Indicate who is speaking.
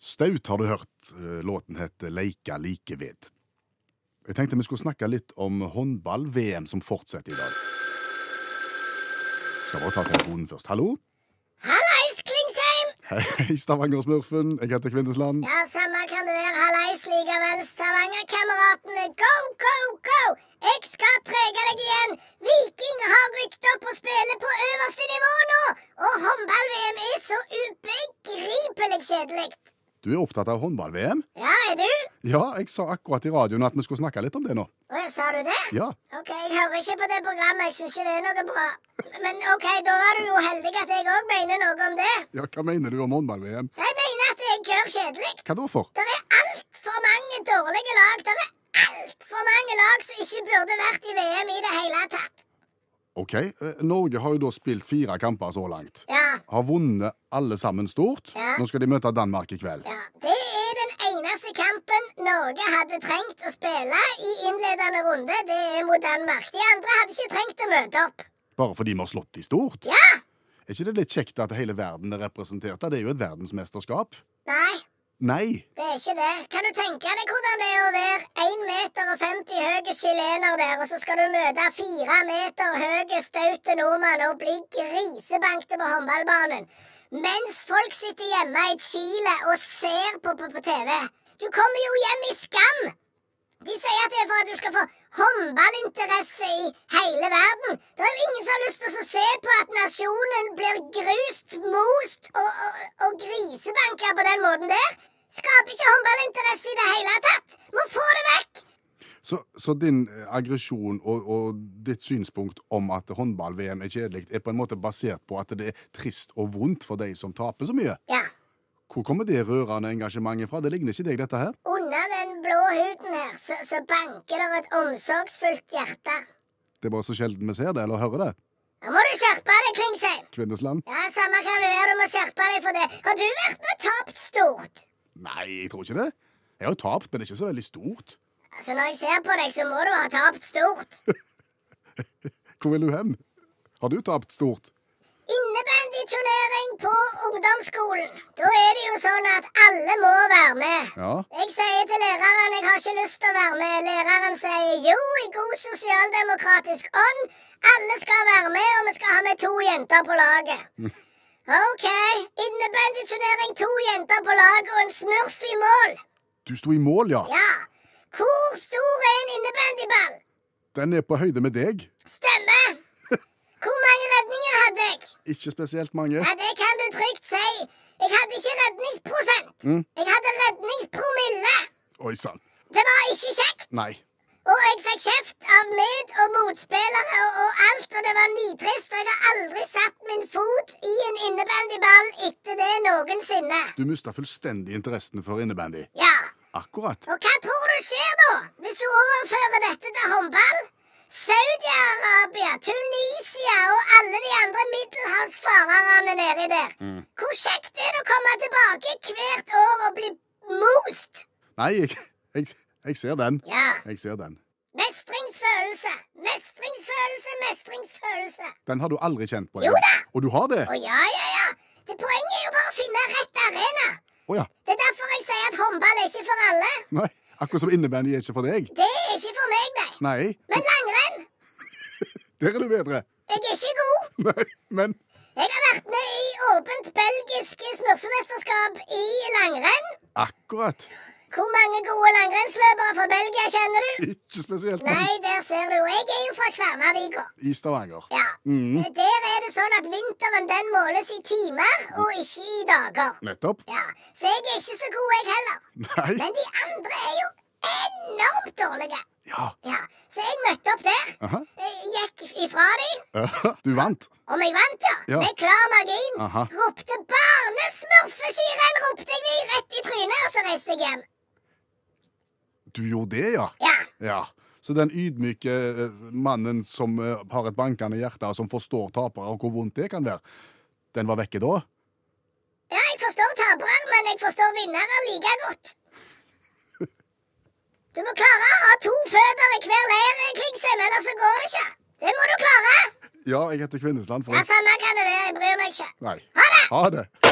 Speaker 1: Staut har du hørt. Eh, Låten heter Leika like ved. Jeg tenkte vi skulle snakke litt om håndball-VM som fortsetter i dag. Skal bare ta telefonen først. Hallo?
Speaker 2: Hallais, Klingsheim!
Speaker 1: Hei, Stavanger-smurfen. Jeg heter Kvindesland.
Speaker 2: Ja, samme kan det være. Hallais likevel, Stavanger-kameratene. Go, go, go! Jeg skal trege deg igjen. Viking har rykt opp og spiller på øverste nivå nå. Og håndball-VM er så ubegripelig kjedelig.
Speaker 1: Du er opptatt av håndball-VM?
Speaker 2: Ja, er du?
Speaker 1: Ja, jeg sa akkurat i radioen at vi skulle snakke litt om det nå.
Speaker 2: Å, ja, sa du det?
Speaker 1: Ja,
Speaker 2: OK, jeg hører ikke på det programmet. Jeg syns ikke det er noe bra. Men OK, da var du jo heldig at jeg òg mener noe om det.
Speaker 1: ja Hva mener du om håndball-VM?
Speaker 2: Jeg mener at det er gørr kjedelig.
Speaker 1: Hva da for?
Speaker 2: Det er altfor mange dårlige lag. Det er altfor mange lag som ikke burde vært i VM i det hele tatt.
Speaker 1: OK, eh, Norge har jo da spilt fire kamper så langt.
Speaker 2: Ja,
Speaker 1: Har vunnet alle sammen stort.
Speaker 2: Ja.
Speaker 1: Nå skal de møte Danmark i kveld.
Speaker 2: ja. Det er den eneste kampen Norge hadde trengt å spille i innledende runde. Det er mot Danmark. De andre hadde ikke trengt å møte opp.
Speaker 1: Bare fordi vi har slått de stort.
Speaker 2: Ja!
Speaker 1: Er ikke det litt kjekt at hele verden er representert? Det er jo et verdensmesterskap.
Speaker 2: Nei,
Speaker 1: Nei.
Speaker 2: det er ikke det. Kan du tenke deg hvordan det er å være 1 meter og 50 høye chilener der, og så skal du møte fire meter høye staute nordmann og bli grisebankte på håndballbanen? Mens folk sitter hjemme i Chile og ser på, på, på TV. Du kommer jo hjem i skam! De sier at det er for at du skal få håndballinteresse i hele verden. Det er jo ingen som har lyst til å se på at nasjonen blir grust, most og, og, og grisebanka på den måten der. Skaper ikke håndballinteresse i det hele tatt. Må få det vekk!
Speaker 1: Så, så din eh, aggresjon og, og ditt synspunkt om at håndball-VM er kjedelig, er på en måte basert på at det er trist og vondt for de som taper så mye?
Speaker 2: Ja.
Speaker 1: Hvor kommer det rørende engasjementet fra? Det ligner ikke deg, dette her.
Speaker 2: Under den blå huden her så, så banker det et omsorgsfullt hjerte.
Speaker 1: Det er bare så sjelden vi ser det eller hører det.
Speaker 2: Nå må du skjerpe deg, Klingsheim.
Speaker 1: Kvinnesland?
Speaker 2: Ja, samme kan det være. Du må skjerpe deg for det. Har du vært med og tapt stort?
Speaker 1: Nei, jeg tror ikke det. Jeg har jo tapt, men det er ikke så veldig stort.
Speaker 2: Altså, Når jeg ser på deg, så må du ha tapt stort.
Speaker 1: Hvor vil du hen? Har du tapt stort?
Speaker 2: Innebandyturnering på ungdomsskolen. Da er det jo sånn at alle må være med.
Speaker 1: Ja.
Speaker 2: Jeg sier til læreren jeg har ikke lyst til å være med. Læreren sier jo, i god sosialdemokratisk ånd. Alle skal være med, og vi skal ha med to jenter på laget. OK. Innebandyturnering, to jenter på laget og en smurf i mål.
Speaker 1: Du sto i mål, ja.
Speaker 2: Ja. Hvor stor er en innebandyball?
Speaker 1: Den er på høyde med deg.
Speaker 2: Stemmer. Hvor mange redninger hadde jeg?
Speaker 1: Ikke spesielt mange.
Speaker 2: Ja, Det kan du trygt si. Jeg hadde ikke redningsprosent.
Speaker 1: Mm.
Speaker 2: Jeg hadde redningspromille.
Speaker 1: Oi sann.
Speaker 2: Det var ikke kjekt.
Speaker 1: Nei.
Speaker 2: Og jeg fikk kjeft av med- og motspillere og, og alt, og det var nitrist. Og jeg har aldri satt min fot i en innebandyball etter det noensinne.
Speaker 1: Du mista fullstendig interessen for innebandy.
Speaker 2: Ja.
Speaker 1: Akkurat.
Speaker 2: Og hva tror du skjer da, hvis du overfører dette til håndball? Saudi-Arabia, Tunisia og alle de andre middelhavsfarerne nedi der. Hvor kjekt er det å komme tilbake hvert år og bli most?
Speaker 1: Nei, jeg, jeg, jeg ser den.
Speaker 2: Ja.
Speaker 1: Jeg ser den.
Speaker 2: Mestringsfølelse, mestringsfølelse, mestringsfølelse.
Speaker 1: Den har du aldri kjent på.
Speaker 2: Jo
Speaker 1: Ellen.
Speaker 2: da!
Speaker 1: Og du har det?
Speaker 2: Å ja, ja, ja. Det Poenget er jo bare å finne rett arena.
Speaker 1: Å ja.
Speaker 2: Det er derfor jeg sier at håndball er ikke for alle.
Speaker 1: Nei. Akkurat som innebandy er ikke for deg.
Speaker 2: Det er ikke for meg, nei.
Speaker 1: Nei.
Speaker 2: Men langrenn,
Speaker 1: Der er du bedre.
Speaker 2: jeg er ikke god.
Speaker 1: Nei, men
Speaker 2: Jeg har vært med i åpent belgisk smurfemesterskap i langrenn.
Speaker 1: akkurat.
Speaker 2: Hvor mange gode langrennsløpere fra Belgia kjenner du?
Speaker 1: Ikke spesielt mange
Speaker 2: Nei, der ser du. Jeg er jo fra Kværnervika.
Speaker 1: i Stavanger.
Speaker 2: Ja.
Speaker 1: Mm.
Speaker 2: Der er det sånn at vinteren den måles i timer og ikke i dager.
Speaker 1: Nettopp.
Speaker 2: Ja, Så jeg er ikke så god, jeg heller.
Speaker 1: Nei.
Speaker 2: Men de andre er jo enormt dårlige.
Speaker 1: Ja.
Speaker 2: Ja, Så jeg møtte opp der.
Speaker 1: Aha.
Speaker 2: eh, Gikk ifra dem.
Speaker 1: Du vant.
Speaker 2: Om jeg vant, ja.
Speaker 1: Ja.
Speaker 2: Med klar margin.
Speaker 1: Aha.
Speaker 2: Ropte 'barnesmurfesyren'! ropte jeg de rett i trynet, og så reiste jeg hjem.
Speaker 1: Du gjorde det, ja.
Speaker 2: Ja.
Speaker 1: Ja. Så den ydmyke eh, mannen som eh, har et bankende hjerte, og som forstår tapere og hvor vondt det kan være, den var vekke da?
Speaker 2: ja, jeg forstår tapere, men jeg forstår vinnere like godt. Du må klare å ha to føtter i hver leir, Klingsheim, ellers så går det ikke. Det må du klare.
Speaker 1: Ja, jeg heter Kvinnesland,
Speaker 2: Ja,
Speaker 1: forresten.
Speaker 2: Samme kan det være, jeg bryr meg ikke.
Speaker 1: Nei.
Speaker 2: Ha det!
Speaker 1: Ha det.